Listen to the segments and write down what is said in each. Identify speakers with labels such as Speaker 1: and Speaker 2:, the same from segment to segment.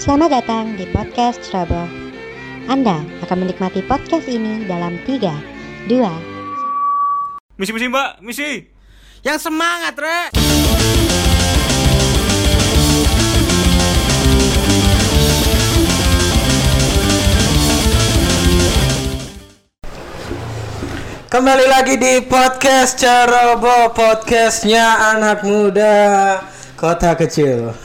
Speaker 1: Selamat datang di podcast Trouble. Anda akan menikmati podcast ini dalam 3, 2,
Speaker 2: Misi misi mbak, misi.
Speaker 3: Yang semangat, Rek. Kembali lagi di podcast Ceroboh podcastnya anak muda kota kecil.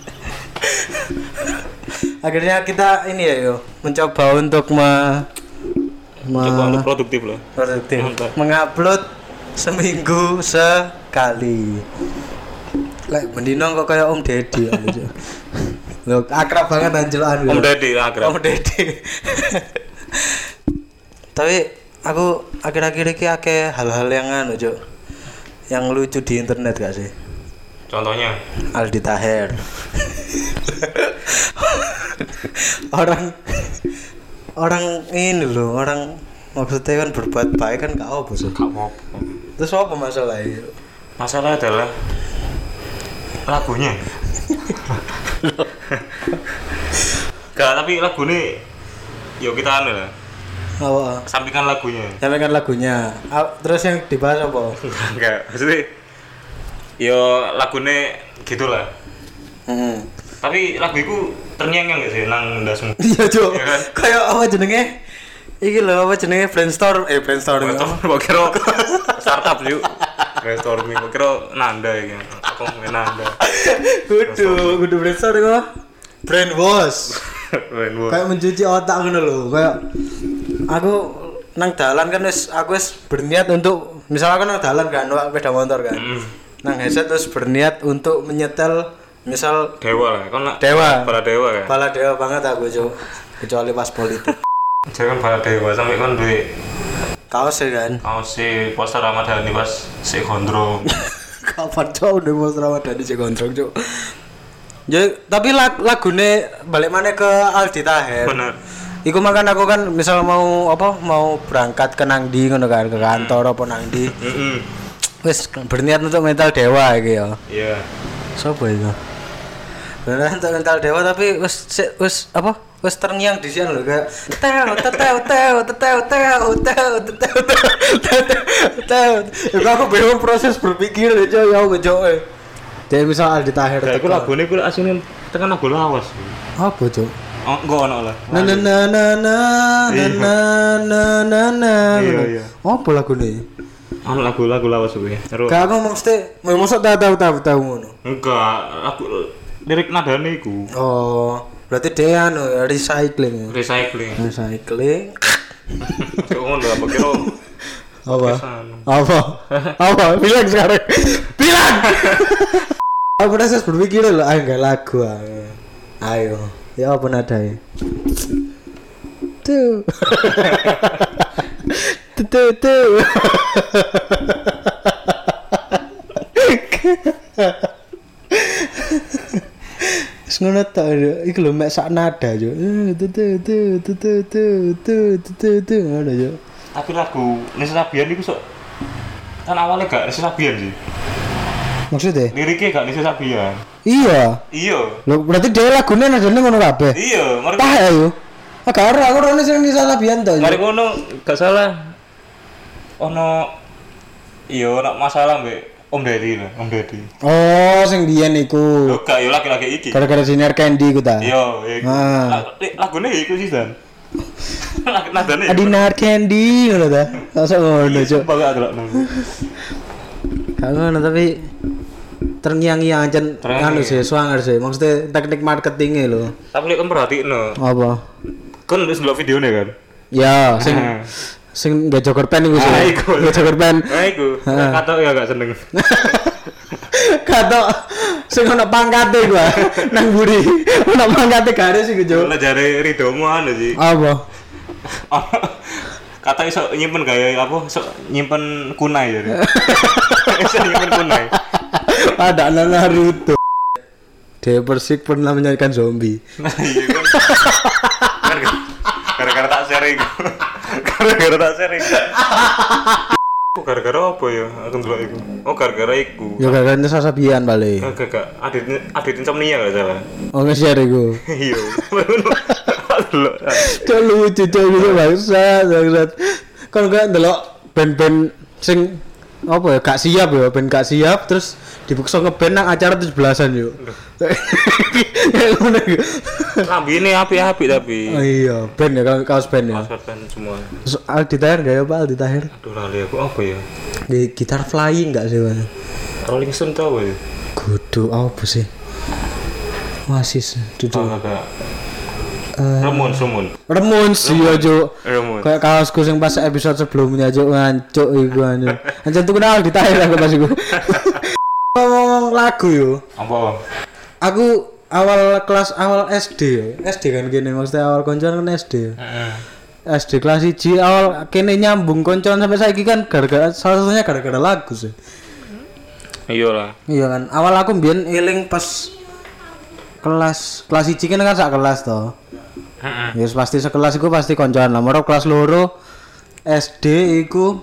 Speaker 3: Akhirnya kita ini ya yo mencoba untuk me, me-
Speaker 2: Coba untuk produktif loh.
Speaker 3: produktif
Speaker 2: Mantap.
Speaker 3: mengupload seminggu sekali lek mendino kok kayak Om Deddy anjir. Loh, akrab banget anjuran
Speaker 2: Iya. Om Deddy lah akrab.
Speaker 3: Om Deddy tapi aku akhir-akhir ini akeh hal-hal yang anu Cuk. yang lucu di internet gak sih
Speaker 2: Contohnya.
Speaker 3: Aldi Taher orang orang ini loh orang maksudnya kan berbuat baik kan gak apa sih
Speaker 2: Kak Mop.
Speaker 3: terus apa masalahnya
Speaker 2: Masalah adalah lagunya. Gak, tapi lagu ini yuk kita anu lah.
Speaker 3: apa
Speaker 2: Kesampingkan lagunya.
Speaker 3: nyampaikan lagunya Ah, terus yang dibahas apa
Speaker 2: Enggak, maksudnya yo lagune gitulah.
Speaker 3: hmm.
Speaker 2: Tapi lagu itu ternyeng gak sih nang ndasmu?
Speaker 3: iya cok
Speaker 2: Iya kan?
Speaker 3: kayak apa jenenge iki lho apa jenenge brainstorm eh brainstorm
Speaker 2: Brainstorm, kok kira startup yuk. Brainstorming, kok kira nanda ya. Aku main nanda.
Speaker 3: kudu kudu brainstorm apa brainwash
Speaker 2: Rainbow.
Speaker 3: kayak mencuci otak ngono lho kayak aku nang dalan kan wis aku wis berniat untuk misalnya aku nang dalan kan numpak sepeda motor kan
Speaker 2: Mm.
Speaker 3: nang headset terus berniat untuk menyetel misal
Speaker 2: Dewa lah, kan nak
Speaker 3: Dewa.
Speaker 2: Para dewa kan.
Speaker 3: kepala dewa banget aku cuy kecuali pas politik
Speaker 2: Jangan para dewa sampai kan duit.
Speaker 3: kaos ya kan
Speaker 2: Kau si poster Ramadhani pas si kontrol.
Speaker 3: kapan cowok udah mau ramadan di gondrong cuk ya tapi lag lagune balik mana ke Aldi Taher
Speaker 2: Bener.
Speaker 3: Iku makan aku kan misal mau apa mau berangkat ke nang di ngono kan ke kantor apa nang di
Speaker 2: Mm-mm.
Speaker 3: wis berniat untuk mental dewa iki ya.
Speaker 2: Iya.
Speaker 3: Sopo itu? Berniat untuk mental dewa tapi wis sik- wis apa? Wis terngiang di sini lho kayak teo teo teo teo teo teo teo teo teo. Iku Ya, aku bingung proses berpikir aja ya aku cok. eh. Jadi misal Aldi Tahir
Speaker 2: Kayak aku
Speaker 3: teko.
Speaker 2: Ya, lagu ini aku aslinya tekan lagu lawas.
Speaker 3: Apa cok?
Speaker 2: Oh, enggak ono lah.
Speaker 3: Na na na na na na na na na na.
Speaker 2: Iya, iya.
Speaker 3: Apa lagu ini?
Speaker 2: Ono lagu lagu lawas gue. Terus
Speaker 3: Gak aku mesti, mau masuk tahu tahu tahu tahu ngono.
Speaker 2: enggak aku lirik nadane iku
Speaker 3: Oh, berarti dia anu ya, recycling. ya.
Speaker 2: recycling.
Speaker 3: Recycling.
Speaker 2: Cuk ngono apa kira
Speaker 3: Apa?
Speaker 2: kesan.
Speaker 3: Apa? Apa? Bilang sekarang. Bilang. Aku proses berpikir loh, ah enggak lagu. ah. Ayo. Ya apa nadanya? Tuh. Tuh tuh. tuh. Terus ngono tak ada, iku lho mek sak nada yo. Tuh tuh tuh tuh tuh tuh tuh tuh tuh tuh ngono yo.
Speaker 2: Tapi lagu Nisrabian iku sok kan awalnya gak Nisrabian sih.
Speaker 3: Maksudnya?
Speaker 2: Liriknya gak Nisrabian.
Speaker 3: Iya.
Speaker 2: Iya.
Speaker 3: Lho berarti dia lagune nadane ngono kabeh.
Speaker 2: Iya, mari
Speaker 3: Tah ya yo. Ah gak ora aku rene sing salah biyen to.
Speaker 2: Mari ngono gak salah. Ono iya ono masalah mbek Om Deddy lah, Om Deddy.
Speaker 3: Oh, sing biyen iku.
Speaker 2: Lho gak yo Iya. laki-laki iki.
Speaker 3: Gara-gara sinar candy ku ta.
Speaker 2: Yo, iku.
Speaker 3: Ah.
Speaker 2: La- li- lagune iku sih Dan. Lag- Nadane.
Speaker 3: Adinar Ah, candy ngono ta. Masa ngono cuk.
Speaker 2: Sumpah gak delok nang.
Speaker 3: Gak ngono tapi terngiang-ngiang ancen
Speaker 2: Terngiang.
Speaker 3: anu sih swanger sih. Maksudnya teknik marketingnya lho.
Speaker 2: Tapi lek kon perhatikno,
Speaker 3: Apa?
Speaker 2: kon wis ndelok videone kan.
Speaker 3: Ya, sing sing gak joker pen iku sih.
Speaker 2: Ah, iku.
Speaker 3: Gak joker pen. Ah.
Speaker 2: Nah, iku. Katok ya gak seneng.
Speaker 3: Kato sing ono pangkate gua nang buri. Ono pangkate garis iku cuk.
Speaker 2: Lah jare ridomu anu sih.
Speaker 3: Apa?
Speaker 2: Kata iso nyimpen gaya apa? Iso nyimpen kunai jare. Iso nyimpen kunai.
Speaker 3: Ada anak Naruto. Dewa Persik pernah menyanyikan zombie.
Speaker 2: Nah, iya kan. Gara-gara- Gara-gara tak sharing. Gara-gara tak sharing. Kok gara-gara apa ya? Aku ndelok iku. Oh, gara-gara iku.
Speaker 3: Ya gara-gara ini sasabian balik.
Speaker 2: Gak gak adit adit insomnia gak salah.
Speaker 3: Oh nge-share iku.
Speaker 2: Iya. Ndelok.
Speaker 3: Cok lucu cok gitu bangsa, bangsat. Kan gak ndelok band-band sing apa ya gak siap ya band gak siap terus dipaksa ngeband nang acara 17-an yuk. Kayak ngono iku.
Speaker 2: Lambine api-api tapi.
Speaker 3: Oh iya, band ya ka- kaos band ya.
Speaker 2: Masakan semua.
Speaker 3: Terus Aldi Tahir gak ya Pak Aldi Tahir?
Speaker 2: Aduh lali aku apa ya?
Speaker 3: Di gitar flying gak sih Pak?
Speaker 2: Rolling Stone tau ya?
Speaker 3: Kudu apa sih? Oasis
Speaker 2: Tau
Speaker 3: duduk.
Speaker 2: gak gak? Remun, remun.
Speaker 3: Remons iya Cuk.
Speaker 2: Remun.
Speaker 3: Eh. Kayak kaosku yang pas episode sebelumnya aja ngancuk iku anu. Anjir tuh kenal ditahir aku pas iku. Ngomong lagu yo.
Speaker 2: Apa? Om?
Speaker 3: Aku awal kelas awal SD yo. SD kan gini maksudnya awal koncoan kan SD. yo. SD kelas 1 awal kene nyambung koncoan sampai saiki kan gara-gara salah satunya gara-gara lagu sih.
Speaker 2: Iya lah.
Speaker 3: Iya kan. Awal aku mbiyen eling pas kelas kelas 1 kan kan sak kelas toh. Ya yes, pasti sekelas iku pasti koncoan lah. Moro kelas loro SD iku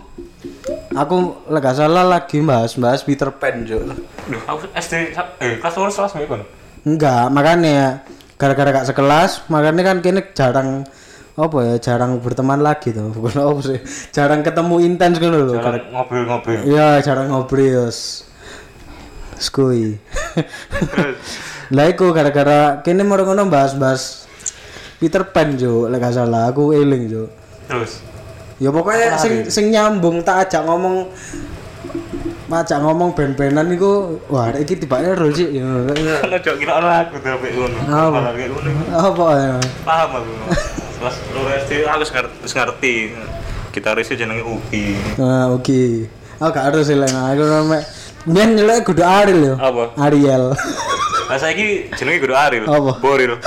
Speaker 3: aku lega salah lagi bahas-bahas Peter Pan juk.
Speaker 2: Duh, aku SD eh kelas lurus kelas berapa kan?
Speaker 3: Enggak, makanya gara-gara gak sekelas, makanya kan kini jarang apa ya jarang berteman lagi tuh bukan apa sih jarang ketemu intens gitu loh
Speaker 2: Jalan ngobrol-ngobrol.
Speaker 3: Iya, cara ngobrol. yos. Skui. Lah iku gara-gara kene moro ngono bahas-bahas Peter Pan jo, lek gak salah aku eling jo.
Speaker 2: Terus
Speaker 3: Ya pokoknya sing sing nyambung tak ajak ngomong ajak ngomong ben-benan iku wah iki tibane rul sih ya.
Speaker 2: kan ojo kira orang aku terus kayak ngono.
Speaker 3: Apa?
Speaker 2: Malah kayak ngono.
Speaker 3: Apa ya?
Speaker 2: Paham aku. Kelas lurus SD aku wis ngerti, wis ngerti. Gitaris itu jenenge Ubi.
Speaker 3: Nah, oke. Aku gak harus eling ah. aku mek Biar nyelek kudu Ariel yo.
Speaker 2: Apa?
Speaker 3: Ariel.
Speaker 2: Lah saiki jenenge Guru Aril.
Speaker 3: Apa?
Speaker 2: Boril.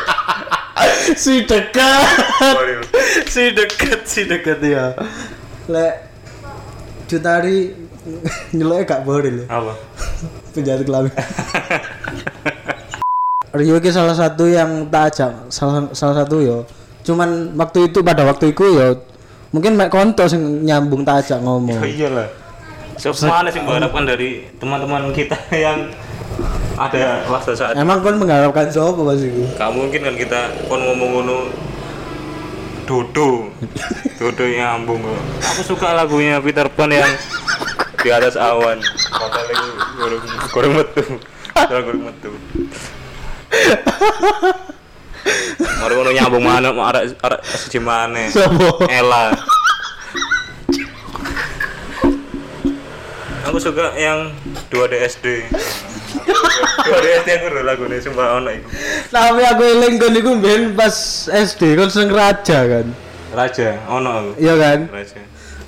Speaker 3: si dekat.
Speaker 2: Boril.
Speaker 3: si dekat si dekat ya lek cutari nyelok gak boleh lho
Speaker 2: Apa?
Speaker 3: penjahat kelamin Rio ki salah satu yang tak ajak salah salah satu yo cuman waktu itu pada waktu itu yo mungkin mek konto sing nyambung tak ajak
Speaker 2: Oh
Speaker 3: ngomong
Speaker 2: iyalah. Semua ada sih mengharapkan dari teman-teman kita yang ada waktu saat
Speaker 3: emang kon mengharapkan siapa pas itu
Speaker 2: Gak mungkin kan kita kon ngomong ngono Dodo. Dodo nyambung kok. Aku suka lagunya Peter Pan yang di atas awan. Kata lagi goreng goreng metu. Padahal goreng metu. Mari ngono nyambung mana mau arek arek siji maneh.
Speaker 3: Sopo?
Speaker 2: Ella. Aku suka yang 2DSD. 2DSD aku udah lagunya sumpah ono iku.
Speaker 3: tapi aku eling kon iku mbiyen pas SD kon seneng raja kan
Speaker 2: Raja, ono aku.
Speaker 3: iya kan
Speaker 2: Raja.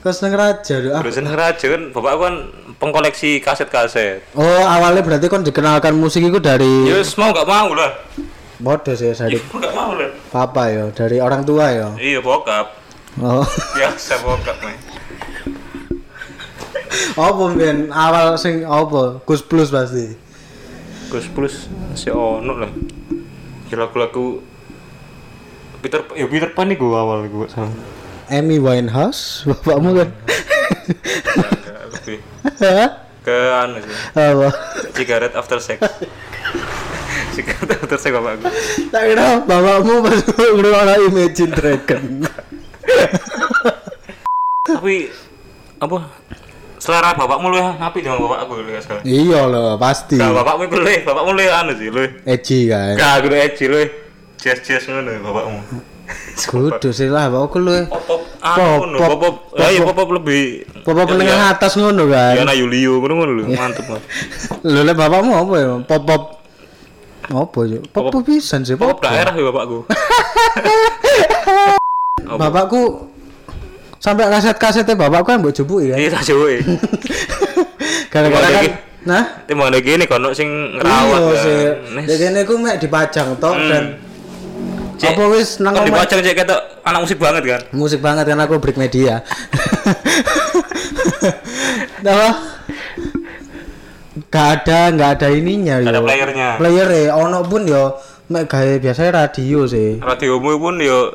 Speaker 3: kon seneng raja lho. Ah,
Speaker 2: Terus seneng raja kan bapak aku kan pengkoleksi kaset-kaset.
Speaker 3: oh awalnya berarti kon dikenalkan musik itu dari
Speaker 2: Yes, mau gak mau lah.
Speaker 3: bodoh sih dari
Speaker 2: Mau gak mau lah.
Speaker 3: papa yo dari orang tua yo
Speaker 2: Iya bokap.
Speaker 3: oh
Speaker 2: Biasa bokap mah.
Speaker 3: apa mbiyen awal sing apa Gus Plus pasti
Speaker 2: Gus plus si ono lah. Ya lagu-lagu Peter Pan- ya Peter Pan nih gua awal gua salah.
Speaker 3: Amy Winehouse bapakmu kan
Speaker 2: Enggak, lebih
Speaker 3: Hah?
Speaker 2: ke anu sih.
Speaker 3: apa
Speaker 2: Cigarette after sex. Cigarette after sex bapak gua.
Speaker 3: tak kira bapakmu pas ngrungokno Imagine Dragon
Speaker 2: Tapi apa selera bapakmu lu ngapi dengan bapak aku lu ya sekarang.
Speaker 3: iya loh pasti
Speaker 2: Nah, bapakmu iku lu, bapakmu lu anu sih lu.
Speaker 3: Eji kan
Speaker 2: Gak, aku udah edgy lu Jazz-jazz ngono ya, bapakmu
Speaker 3: kudu sih lah bapakku lu
Speaker 2: Pop-pop anu ngono, pop-pop Lah iya pop-pop Iya, lebih
Speaker 3: pop penengah atas Iya. ngono
Speaker 2: Ya
Speaker 3: kan
Speaker 2: anak Yulio ngono ngono lho, mantep banget
Speaker 3: lho lek bapakmu apa ya pop pop apa ya pop pop pisan sih
Speaker 2: Pop
Speaker 3: pop
Speaker 2: daerah ya bapakku
Speaker 3: bapakku sampai kaset-kasetnya bapakku kan mbok jebuki kan
Speaker 2: Ini tak jauh ya
Speaker 3: gara-gara
Speaker 2: Gimana
Speaker 3: kan
Speaker 2: lagi?
Speaker 3: nah
Speaker 2: Tapi mau ada gini, kono sing ngerawat
Speaker 3: iya sih
Speaker 2: kan
Speaker 3: jadi ini aku mek dipajang toh dan
Speaker 2: Hmm. Cek,
Speaker 3: apa wis nang
Speaker 2: Kan
Speaker 3: omah-
Speaker 2: dipajang cek ketok anak musik banget kan
Speaker 3: musik banget kan aku break media apa gak ada gak ada ininya
Speaker 2: Gak ada
Speaker 3: yo.
Speaker 2: playernya.
Speaker 3: player ya ono pun yo mek gawe biasanya radio sih
Speaker 2: Radiomu pun yo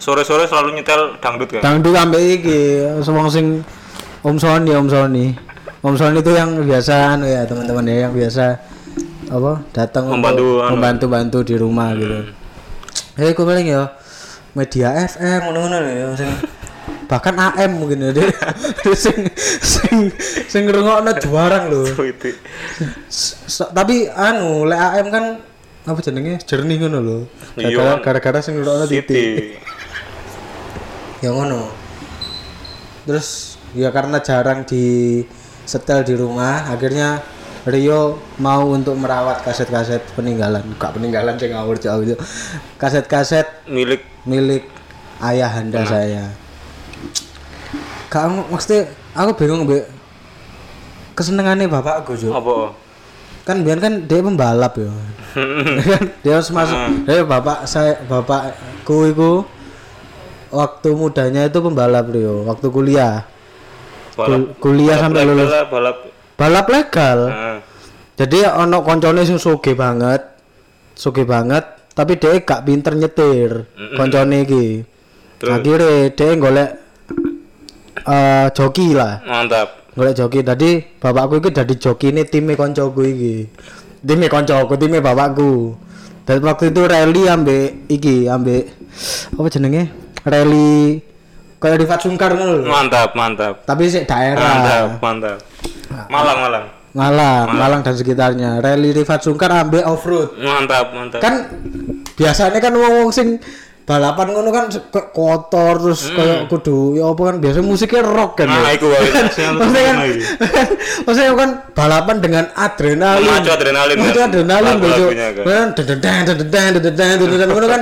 Speaker 2: sore-sore selalu nyetel dangdut kan
Speaker 3: Dangdut sampe iki wong sing Om Sony, Om Sony. Om Sony itu yang biasa anu ya teman-teman ya yang biasa apa datang untuk
Speaker 2: Membantu, anu. Hmm.
Speaker 3: membantu-bantu di rumah gitu. Eh, aku paling ya media FM ngono-ngono lho ya sing bahkan AM mungkin ya dia dia sing sing sing ngrungokno juarang lho.
Speaker 2: itu
Speaker 3: S- s- tapi anu lek AM kan apa jenenge jernih ngono lho.
Speaker 2: Iya.
Speaker 3: Gara-gara gara-gara sing ngrungokno titik.
Speaker 2: Siti
Speaker 3: ya ngono terus ya karena jarang di setel di rumah akhirnya Rio mau untuk merawat kaset-kaset peninggalan gak peninggalan sih ngawur jauh itu kaset-kaset
Speaker 2: milik
Speaker 3: milik ayahanda saya kamu maksudnya aku bingung be kesenengannya bapakku Jo
Speaker 2: apa
Speaker 3: kan biar kan dia pembalap ya Kan dia harus masuk
Speaker 2: Ah.
Speaker 3: eh bapak saya bapakku itu waktu mudanya itu pembalap Rio waktu kuliah
Speaker 2: balap
Speaker 3: Kul- kuliah sampai
Speaker 2: legal
Speaker 3: lulus
Speaker 2: lah, balap
Speaker 3: balap legal
Speaker 2: Nah,
Speaker 3: jadi ono koncone sing sugih banget sugih banget tapi dia gak pinter nyetir koncone iki
Speaker 2: Terus?
Speaker 3: akhirnya dia golek eh joki lah
Speaker 2: mantap
Speaker 3: golek joki tadi bapakku iki dadi joki ini timnya koncoku iki timnya koncoku timnya bapakku dan waktu itu rally ambek iki ambek apa jenenge rally kayak di Sungkar ngono lho.
Speaker 2: mantap mantap
Speaker 3: tapi sih daerah
Speaker 2: mantap mantap malang Ah, malang
Speaker 3: Malang, Malang dan sekitarnya. Rally Rifat Sungkar ambek off road.
Speaker 2: mantap mantap
Speaker 3: Kan biasanya kan wong-wong sing balapan ngono kan se- ke- kotor terus kayak kudu ya apa kan biasanya musiknya rock kan.
Speaker 2: nah
Speaker 3: ya.
Speaker 2: itu wae
Speaker 3: Maksudnya kan, maksudnya kan balapan dengan adrenalin.
Speaker 2: Memacu adrenalin,
Speaker 3: Memacu
Speaker 2: kan?
Speaker 3: adrenalin bro.
Speaker 2: Lagu-lagunya, kan?
Speaker 3: Kan dededang, dededang, dededang, dededang, ngono kan.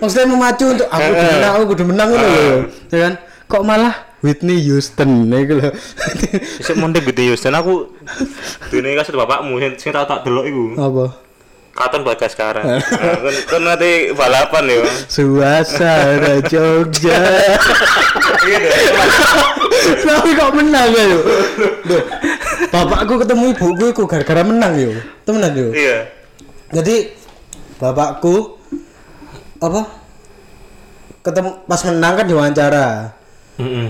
Speaker 3: Maksudnya memacu untuk
Speaker 2: Eh,
Speaker 3: aku kudu menang, aku kudu menang ngono
Speaker 2: Ah.
Speaker 3: lho. Ya kan? Kok malah Whitney Houston iku lho.
Speaker 2: Sik mondek gede Yus dan aku dunia kasih bapakmu sing sing tau tak delok iku.
Speaker 3: Apa?
Speaker 2: Katon Bagaskara.
Speaker 3: Ah.
Speaker 2: Nah, kan kan nanti balapan ya.
Speaker 3: Suasana Jogja.
Speaker 2: Iya,
Speaker 3: Tapi kok menang ya yo? Loh, bapakku ketemu ibuku iku gara-gara menang yo. Temenan yo.
Speaker 2: Iya.
Speaker 3: Jadi bapakku apa? Ketemu pas menang kan diwawancara.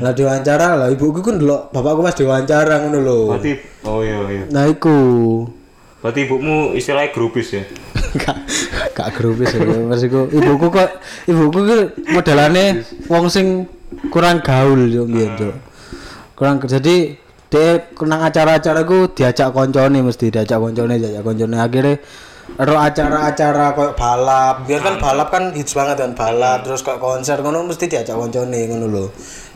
Speaker 3: Lah diwawancara lah ibuku kan ndelok bapakku pas diwawancara ngono lho.
Speaker 2: Berarti oh iya iya.
Speaker 3: Nah iku
Speaker 2: Berarti ibumu istilahnya grupis ya.
Speaker 3: Kak, kak grupis ya maksudku ibuku kok ibuku ki modelane wong sing kurang gaul yo mbiyen yo. Kurang jadi dia kenang acara-acara ku diajak koncone mesti diajak koncone diajak koncone akhirnya ro acara-acara kayak balap biar kan balap kan hits banget kan balap terus kayak konser ngono mesti diajak koncone ngono lho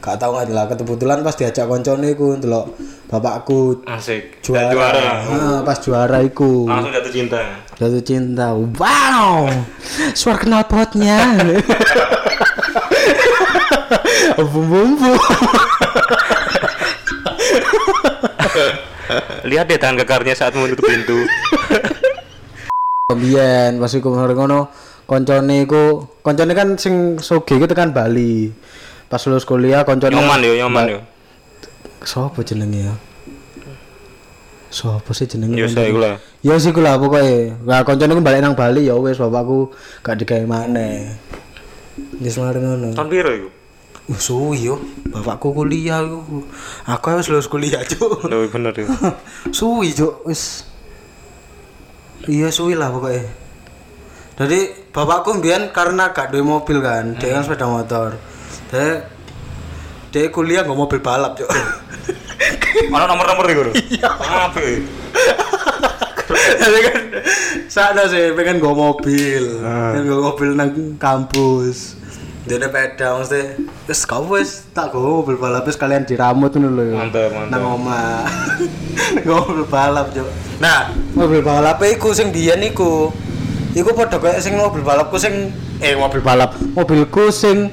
Speaker 3: gak tau nggak lah kebetulan pas diajak koncone ku ndelok bapakku
Speaker 2: Asik. Dan
Speaker 3: juara,
Speaker 2: juara. Ah,
Speaker 3: Ah, pas juara iku
Speaker 2: Langsung jatuh cinta.
Speaker 3: Jatuh cinta. Wow. Suara knalpotnya. bum bum bum.
Speaker 2: Lihat deh tangan kekarnya saat menutup pintu.
Speaker 3: Biyen pas iku mari ngono koncone iku koncone kan sing sugih iku tekan Bali. Pas lulus kuliah koncone
Speaker 2: nyoman yo, nyoman yo.
Speaker 3: sapa jenenge ya? Sapa sih jenenge?
Speaker 2: Yo Iya, saya iku lah.
Speaker 3: Ya sih lah pokoknya Nah koncone ku balik nang Bali ya wis bapakku gak digawe maneh. Wis mari ngono.
Speaker 2: Tahun piro iku?
Speaker 4: Uh, suwi yo. Bapakku kuliah yo. Aku wis lulus kuliah, Cuk.
Speaker 2: Loh Iya, bener yo.
Speaker 4: suwi Cuk, wis. Iya suwi lah pokoknya. Jadi bapakku mbiyen karena gak duwe mobil kan, dia kan sepeda motor. Dia dia kuliah nggak mobil balap, Cuk.
Speaker 2: Ono nomor-nomor iku. Iya. Apik.
Speaker 4: Jadi kan sana sih pengen gue mobil, pengen gue mobil nang kampus. Dia ada peda maksudnya, terus kamu wes tak gue mobil balap terus kalian
Speaker 3: Diramut ngono lho ya.
Speaker 2: Mantap, mantap.
Speaker 4: nang oma, gue mobil balap jo. Nah
Speaker 3: Mobil balap eh,
Speaker 4: balapnya iku sing dia niku, iku pada kayak sing mobil balapku sing eh mobil
Speaker 3: balap mobilku sing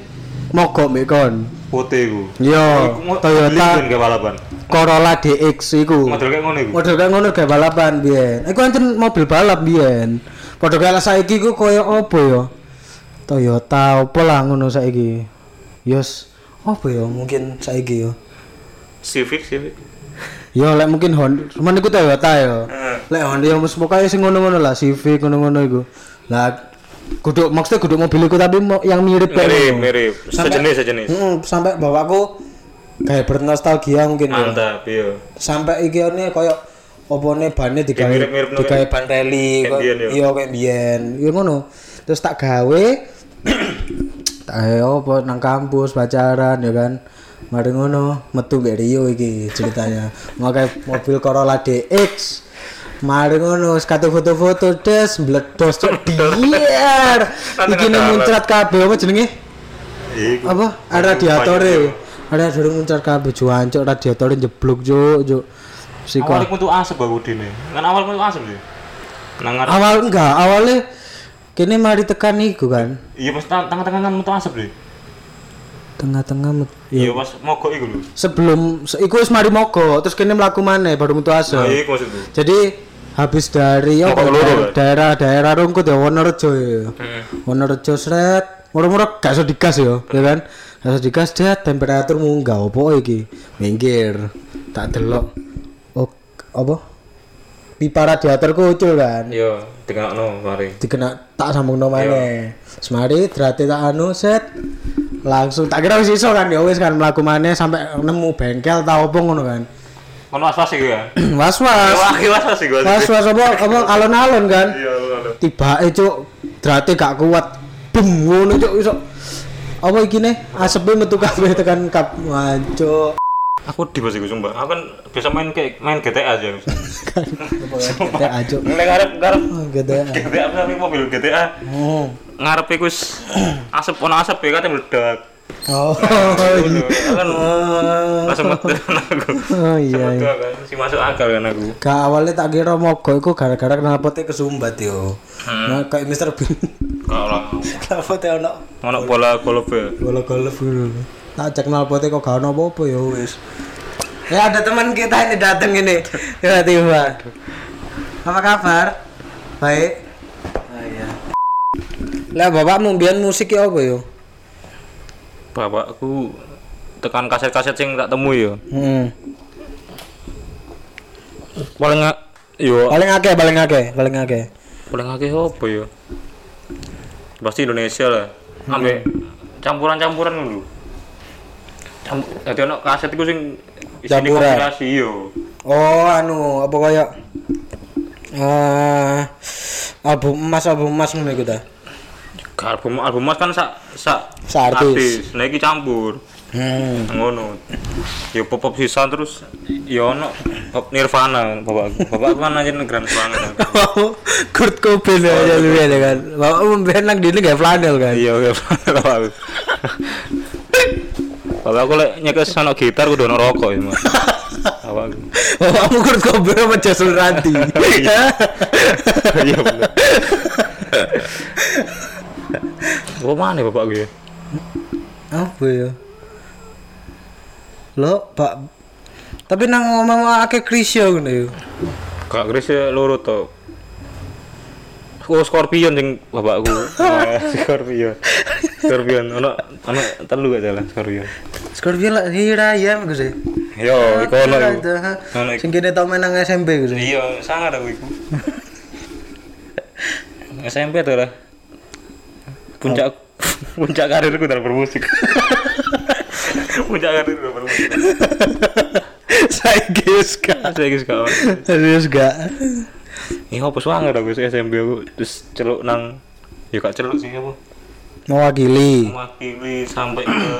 Speaker 3: mogok mbek kon
Speaker 2: Pote iku.
Speaker 3: yo
Speaker 2: Iku mau- beliin
Speaker 3: Toyota
Speaker 2: ke balapan.
Speaker 3: Corolla DX iku
Speaker 2: Model kayak ngono iku.
Speaker 3: model kayak ngono kayak balapan biyen iku ancen mobil balap biyen padha kaya lah saiki iku koyo opo yo Toyota opo lah ngono saiki yos opo yo mungkin saiki yo
Speaker 2: Civic, Civic.
Speaker 3: yo lek mungkin Honda cuman iku Toyota yo
Speaker 2: Heeh.
Speaker 3: lek Honda yo mesti pokoke sing ngono-ngono lah Civic ngono-ngono iku lah Guduk maksudnya guduk mobilku tapi mo- yang mirip kayak
Speaker 2: mirip
Speaker 3: ngono.
Speaker 2: mirip
Speaker 4: Sampai-
Speaker 2: sejenis sejenis
Speaker 4: Mm, sampai bapakku kayak bernostalgia
Speaker 3: Hmm.
Speaker 4: mungkin ya.
Speaker 2: mantap iya
Speaker 4: sampai iki ini koyo opone bannya digawe
Speaker 2: mirip-mirip no,
Speaker 4: digawe
Speaker 2: kayak-
Speaker 4: ban rally
Speaker 2: kayak
Speaker 4: kok-
Speaker 2: biyen, yo.
Speaker 4: iya kayak biyen iya ngono terus tak gawe
Speaker 3: Tak ayo apa nang kampus pacaran ya kan. Mari ngono metu gak Rio iki ceritanya. Makai mobil Corolla DX. Mari ngono sekatu foto-foto des meledos cok biar. Iki nih muncrat kabeh apa jenenge?
Speaker 2: Iku.
Speaker 3: apa ada radiatore ada durung muncar kabeh juan cuk radiatore jeblok cuk cuk
Speaker 2: awal
Speaker 3: siko
Speaker 2: itu tuh asap aku dini kan awal itu asap sih nangar
Speaker 3: awal enggak awalnya kene mari tekan iku kan
Speaker 2: iya pas tang- tengah-tengah kan itu asap deh
Speaker 3: tengah-tengah met-
Speaker 2: iya pas mogok itu lho
Speaker 3: sebelum se- iku wis mari mogok terus kene mlaku maneh baru metu
Speaker 2: nah
Speaker 3: asal
Speaker 2: iya iku maksudku
Speaker 3: jadi habis dari apa,
Speaker 2: Mogok loro, kan?
Speaker 3: daerah-daerah rungkut ya Wonorejo ya
Speaker 2: Heeh.
Speaker 3: Wonorejo sret murah-murah gak iso digas ya ya kan gak iso digas dia temperatur munggah opo iki minggir tak delok oh apa pipa radiator kucul kan
Speaker 2: iya tengah no mari
Speaker 3: dikena tak sambung nomane
Speaker 2: Iya.
Speaker 3: semari derate tak anu set langsung tak kira wis iso kan ya wis kan mlaku maneh sampai nemu bengkel tau opo ngono kan
Speaker 2: kan was-was sih ya
Speaker 3: was-was
Speaker 2: wah iya was-was sih gue
Speaker 3: was-was apa apa alon-alon kan
Speaker 2: iya lho
Speaker 3: tiba eh cuk drate gak kuat bum ngono cuk iso apa iki nih asepnya metu kabeh tekan kap wancuk
Speaker 2: aku di pas iku sumpah aku kan biasa main kayak main GTA aja
Speaker 3: GTA cuk
Speaker 2: Neng ngarep ngarep
Speaker 3: Oh, GTA
Speaker 2: GTA apa sih mobil GTA
Speaker 3: oh
Speaker 2: ngarep iku wis asap ono asap ya kan meledak
Speaker 3: oh
Speaker 2: Ngono. Aku kan langsung meten aku
Speaker 3: oh iya
Speaker 2: Betul kan si masuk akal kan aku
Speaker 3: gak awalnya tak kira mogok iku gara-gara knalpotnya
Speaker 4: kesumbat yo
Speaker 2: Hmm.
Speaker 4: nah kayak Mr. Bean
Speaker 2: kalau
Speaker 4: kenapa teh ono
Speaker 2: ono bola golf ya
Speaker 3: bola golf gitu tak cek knalpotnya kok gak ono apa-apa ya wis
Speaker 4: ya ada teman kita ini datang ini tiba-tiba apa kabar baik Ah, iya. lah bapakmu biyen musik ya apa yo
Speaker 2: bapakku tekan kaset-kaset sing tak temu ya
Speaker 4: hmm.
Speaker 2: paling nga- yo
Speaker 4: paling akeh paling akeh paling akeh
Speaker 2: paling akeh apa ya pasti Indonesia lah
Speaker 4: Hmm.
Speaker 2: ambek campuran-campuran dulu Camp- jadi ono kaset iku sing isine
Speaker 4: Campuran.
Speaker 2: kombinasi yo
Speaker 4: Oh, anu, apa kaya eh album emas album emas ngono iku ta.
Speaker 2: album album mas kan sak sak
Speaker 4: Sak artis.
Speaker 2: nah iki campur
Speaker 4: Hmm.
Speaker 2: ngono ya pop pop sisan terus ya ono pop Nirvana bapak bapak kan aja grand banget
Speaker 4: Kurt Cobain aja lu ya kan. Bapak mben nang dine gak flanel kan.
Speaker 2: iya iya bapak bapak aku lek nyekes ono gitar kudu ono rokok ya mas bapak aku.
Speaker 4: Bapakmu Kurt Cobain sama Jason Ranti.
Speaker 2: iya bener Apa mana bapak gue?
Speaker 4: apa ya? Lo, Pak. Tapi nang ngomong akeh Krisya ya. ngono yo.
Speaker 2: Kak Chris ya loro to. Oh Scorpion sing bapakku. Ah, Scorpion. Scorpion ono ono telu gak salah Scorpion.
Speaker 4: Scorpion lah hira ya gue sih.
Speaker 2: Yo
Speaker 3: Ah,
Speaker 2: iku ono
Speaker 3: iya,
Speaker 4: ya.
Speaker 2: iku. Ono iku.
Speaker 4: Sing kene tau main nang SMP gue sih.
Speaker 2: Iya, sangar aku iku. SMP tuh lah. Puncak puncak karirku dalam bermusik. puncak karir dalam bermusik.
Speaker 4: Saiki wis gak.
Speaker 2: Saya guys kawan.
Speaker 4: Serius gak?
Speaker 2: Ini apa sangar aku sih SMP aku terus celuk nang Ya kak celuk sih apa?
Speaker 4: mewakili
Speaker 2: mewakili sampai ke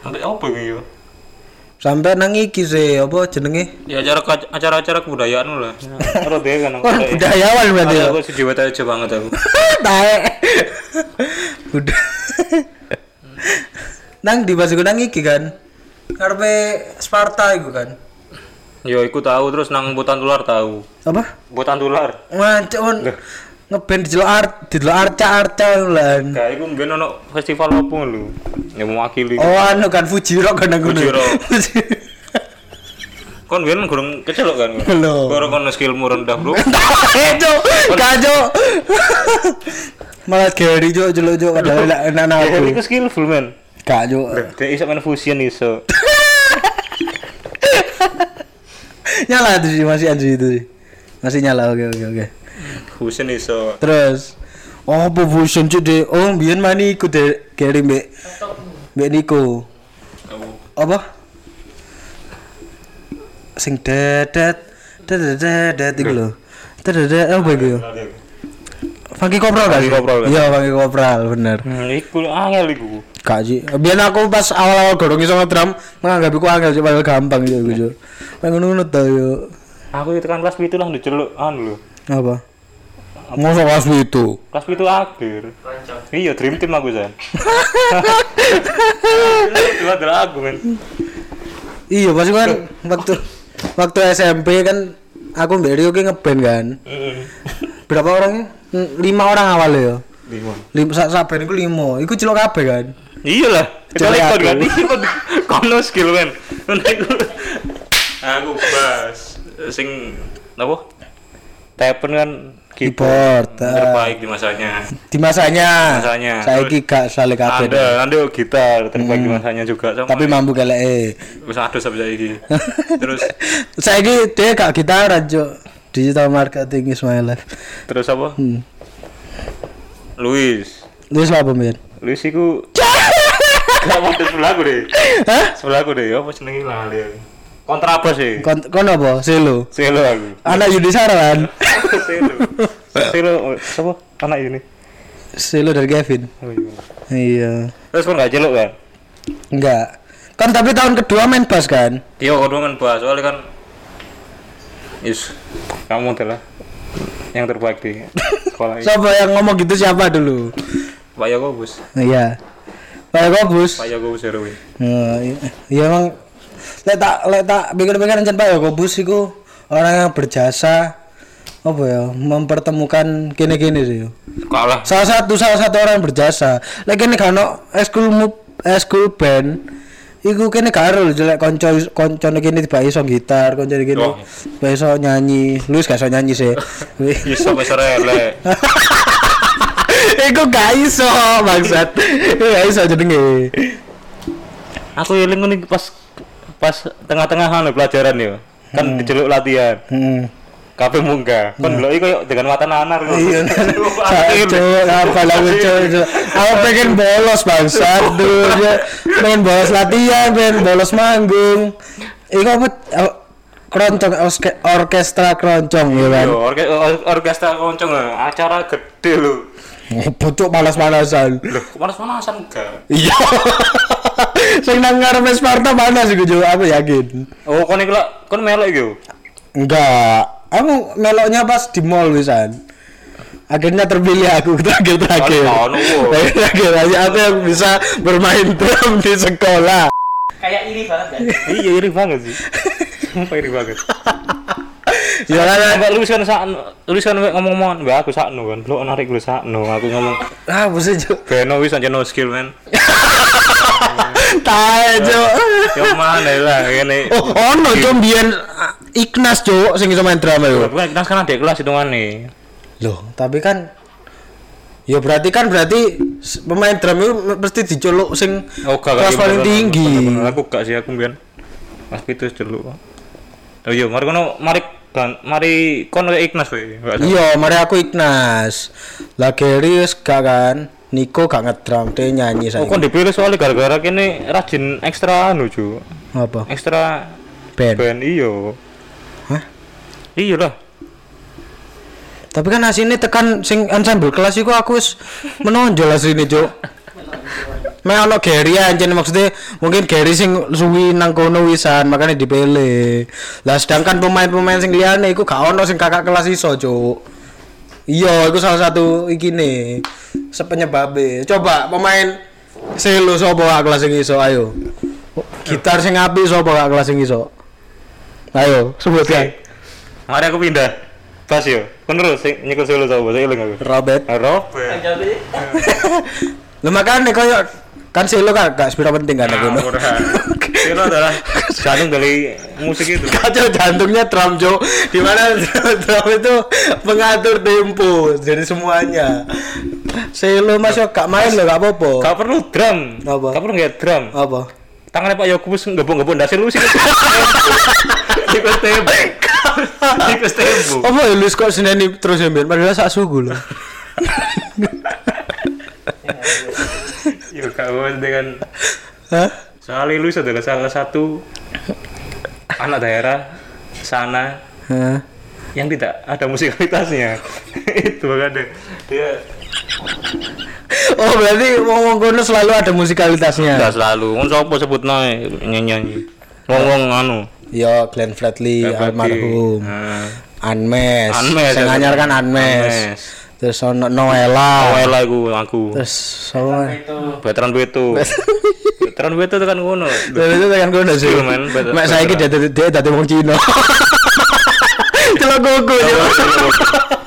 Speaker 2: sampai apa ini ya?
Speaker 4: sampai nang iki sih apa jenenge
Speaker 2: Ya acara acara-acara kebudayaan lah. Terus dia kan.
Speaker 4: oh budayawan berarti ya
Speaker 2: Aku sejiwa aja banget aku.
Speaker 4: tae udah nang di basiku nang iki kan ngarepe Sparta iku kan
Speaker 2: Yo iku tahu terus nang butan tular tahu.
Speaker 4: apa
Speaker 2: Butan tular.
Speaker 4: ngancuk on ngeband di art di arca arca lan
Speaker 2: Gak iku mbiyen ono festival opo lho. Ya mewakili.
Speaker 4: oh anu kan Fuji Rock kan aku
Speaker 2: Fuji Rock. Kon mbiyen gurung kecelok kan.
Speaker 4: Belum.
Speaker 2: Gurung kon skillmu rendah, Bro.
Speaker 4: Kajo, kajo, malah Gary jo jelo jo padahal enak enak
Speaker 2: Ya
Speaker 4: aku,
Speaker 2: iku skillful men.
Speaker 4: kajo.
Speaker 2: Dia iso main fusion iso.
Speaker 4: nyala tuh sih masih anjir itu sih masih nyala oke oke oke
Speaker 2: Fusion iso.
Speaker 4: terus
Speaker 3: Oh, fusion cuk de. Oh, biyen mani iku de Gary mbek. Mbek Niko. Apa? Sing dedet dedet iku lho. Dedet apa iku yo? Funky Kopral gak sih?
Speaker 2: Funky Kopral, kan?
Speaker 3: Iya, Funky Kopral bener.
Speaker 2: Hmm, iku lho, angel iku.
Speaker 3: Kak Ji, biar aku pas awal-awal gorong iso ngedrum menganggap iku angel sih padahal gampang ya iku yo. Pengen ngono to yo.
Speaker 2: Aku itu kan kelas 7 lah diceluk anu lho.
Speaker 3: Apa? Mosok kelas itu.
Speaker 2: Kelas 7 akhir. Iya, dream team aku, San. Itu adalah aku, men.
Speaker 3: Iya, pasti kan waktu waktu SMP kan aku mbak Rio ki ngeband kan. Berapa orang? Hmm, Lima orang awal ya. Lima sak sak band iku lima. Iku celok kabeh kan.
Speaker 2: Iya lah, kecuali
Speaker 3: Kecuali
Speaker 2: kon kan.
Speaker 3: aku.
Speaker 2: Iya, kon kono skill men. Aku bas sing apa? Tepen kan
Speaker 3: Keyboard. eh.
Speaker 2: terbaik di masanya.
Speaker 3: Di masanya.
Speaker 2: Masanya.
Speaker 3: Saya ki gak saling kabeh. Hmm.
Speaker 2: Ada, ada gitar terbaik di masanya juga sama.
Speaker 3: Tapi mampu keleke.
Speaker 2: wis aduh sampai saiki. Terus
Speaker 3: Saya ki dia gak gitaran, Cuk. Digital marketing is my life.
Speaker 2: terus apa?
Speaker 3: Hmm.
Speaker 2: Luis.
Speaker 3: Wis apa, Mir?
Speaker 2: Luis iku Gak mau di sebelah aku deh.
Speaker 3: Hah?
Speaker 2: Sebelah aku deh, apa senengi lah dia. Kontrabas sih.
Speaker 3: Kon kon apa? Selo.
Speaker 2: Selo aku.
Speaker 3: Anak Yudisara kan?
Speaker 2: Iya. Selo. Selo oh, siapa? Anak ini.
Speaker 3: Selo dari Kevin.
Speaker 2: Oh, iya.
Speaker 3: Iya.
Speaker 2: Terus kon gak jeluk kan?
Speaker 3: Enggak. Kan tapi tahun kedua main bass kan?
Speaker 2: Iya, kudu kan bahas soalnya kan Yes, kamu adalah yang terbaik di sekolah ini.
Speaker 3: Siapa yang ngomong gitu siapa dulu?
Speaker 2: Pak Yakobus,
Speaker 3: Iya. Pak Yakobus.
Speaker 2: Pak Yakobus Herwi.
Speaker 3: Nah, i- Iya emang lek tak lek tak pikir-pikir encen Pak Yakobus iku orang yang berjasa apa ya mempertemukan kini-kini sih. yo.
Speaker 2: Kalah.
Speaker 3: Salah satu salah satu orang yang berjasa. Lek kene gak ono eskul mu- eskul band Iku kene karo jelek konco konco kene tiba iso gitar, konco kene
Speaker 2: Wah.
Speaker 3: tiba iso nyanyi. Luis gak iso nyanyi sih.
Speaker 2: Yes, sampai serele.
Speaker 3: Iku gak iso bangsat. Iku gak iso jenenge.
Speaker 2: Aku eling ngene pas pas tengah-tengah anu pelajaran yo.
Speaker 3: Hmm.
Speaker 2: Kan diceluk latihan.
Speaker 3: Heeh.
Speaker 2: Kabeh munggah. Kon lho iku dengan mata nanar.
Speaker 3: Hmm. Iya. Cuk, apa lagu cuk. cuk. Aku pengen bolos bangsat duh. cuk. Pengen bolos latihan, pengen bolos manggung. Iku apa au- keroncong orke- orkestra keroncong ya kan.
Speaker 2: Yo, orke- Iya, or- orkestra koncong lah. acara gede lho.
Speaker 3: Bocok panas-panasan.
Speaker 2: Lho, panas-panasan enggak?
Speaker 3: Iya. Sing nang ngarepe Sparta panas iku cuk, aku yakin.
Speaker 2: Oh, kon iku lho, kon melok iku.
Speaker 3: Enggak. Aku meloknya pas di mall wisan. Akhirnya terpilih aku terakhir terakhir.
Speaker 2: Oh, no, no.
Speaker 3: Terakhir terakhir aja aku yang bisa bermain drum di sekolah.
Speaker 2: Iya, iri banget sih. Sumpah iri banget.
Speaker 3: Ya kan,
Speaker 2: Mbak Luis kan sakno, Luis kan mbak ngomong-ngomongan, mbak aku sakno kan, lo narik lu sakno, aku ngomong
Speaker 3: ah bos cuk.
Speaker 2: Beno wis aja no skill man
Speaker 3: Tae cuk.
Speaker 2: Ya mana lah, ini
Speaker 3: Oh, ono cuk mbiyen ah, Ignas cuk sing iso main drum
Speaker 2: Loh,
Speaker 3: itu.
Speaker 2: Bukan kita sekarang ada kelas hitungan nih
Speaker 3: Loh, tapi kan Ya berarti kan berarti s- pemain drum itu mesti dicolok sing
Speaker 2: Oh gak,
Speaker 3: kelas
Speaker 2: gak,
Speaker 3: paling
Speaker 2: bener-bener,
Speaker 3: tinggi.
Speaker 2: bener-bener. Aku gak sih, aku mbian Mas Pitus dulu Oh iya, mari kono, mari gan- Mari kono kayak Ignas we Gak tau.
Speaker 3: Iya, mari aku Ignas. Lah Gary wis gak kan. Niko gak ngedrum, dia nyanyi
Speaker 2: Oh
Speaker 3: saya.
Speaker 2: kon dipilih soalnya gara-gara kini rajin ekstra anu cu
Speaker 3: Apa?
Speaker 2: Ekstra
Speaker 3: Band.
Speaker 2: band iyo
Speaker 3: Hah?
Speaker 2: Iya lah
Speaker 3: Tapi kan asine tekan sing ensemble kelas iku aku wis menonjol asline, Cuk. Mek ono Gary anjen maksudnya mungkin Gary sing suwi nang kono wisan makanya dipilih. Lah sedangkan pemain-pemain sing liyane iku gak ono sing kakak kelas iso, Cuk. Iya, iku salah satu iki nih sepenyebabe. Coba pemain selo sapa kakak kelas sing iso ayo. Gitar sing apik sapa kakak kelas sing iso. Ayo, sebutkan.
Speaker 2: Mari aku pindah Pas yo, kon terus sing- nyekel solo sama saya ilang aku
Speaker 3: Robert
Speaker 2: Robert
Speaker 3: Lah makane koyo kan selo kan gak sepira penting
Speaker 2: Ah,
Speaker 3: kan aku.
Speaker 2: Silo adalah jantung dari musik itu
Speaker 3: Kacau jantungnya drum jo di mana drum itu mengatur tempo jadi semuanya. Selo masuk gak main loh gak apa-apa.
Speaker 2: Gak perlu drum
Speaker 3: Apa?
Speaker 2: Gak perlu nggak drum
Speaker 3: Apa?
Speaker 2: Tangannya Pak Yokubus ngebong-ngebong Dasar lu sih Tikus tempo Tikus tempo
Speaker 3: Apa ya lu kok seneni terus ya Mbak? Padahal sak suku lho.
Speaker 2: Yo gak ngerti dengan
Speaker 3: Hah?
Speaker 2: soalnya lu adalah salah satu anak daerah sana
Speaker 3: Hah?
Speaker 2: yang tidak ada musikalitasnya. Itu makanya Iya. dia
Speaker 3: Oh berarti wong-wong kono selalu ada musikalitasnya.
Speaker 2: enggak selalu. Wong sapa sebut nae nyanyi-nyanyi. Wong-wong anu.
Speaker 3: Yo Glenn Fredly
Speaker 2: Glenn Fredly.
Speaker 3: Iya, almarhum.
Speaker 2: Heeh.
Speaker 3: Anmes.
Speaker 2: Anmes,
Speaker 3: Sing
Speaker 2: ya.
Speaker 3: anyar kan Anmes.
Speaker 2: Anmes.
Speaker 3: Terus ono Noela.
Speaker 2: Awalnya aku aku.
Speaker 3: Terus sama.
Speaker 2: Veteran Beto. Veteran Beto itu kan ngono.
Speaker 3: Dari itu tekan kono sih.
Speaker 2: Iya, men. Betul-
Speaker 3: Mek saiki dia dadi dia dadi wong Cina. Celok gogo.
Speaker 2: Betul.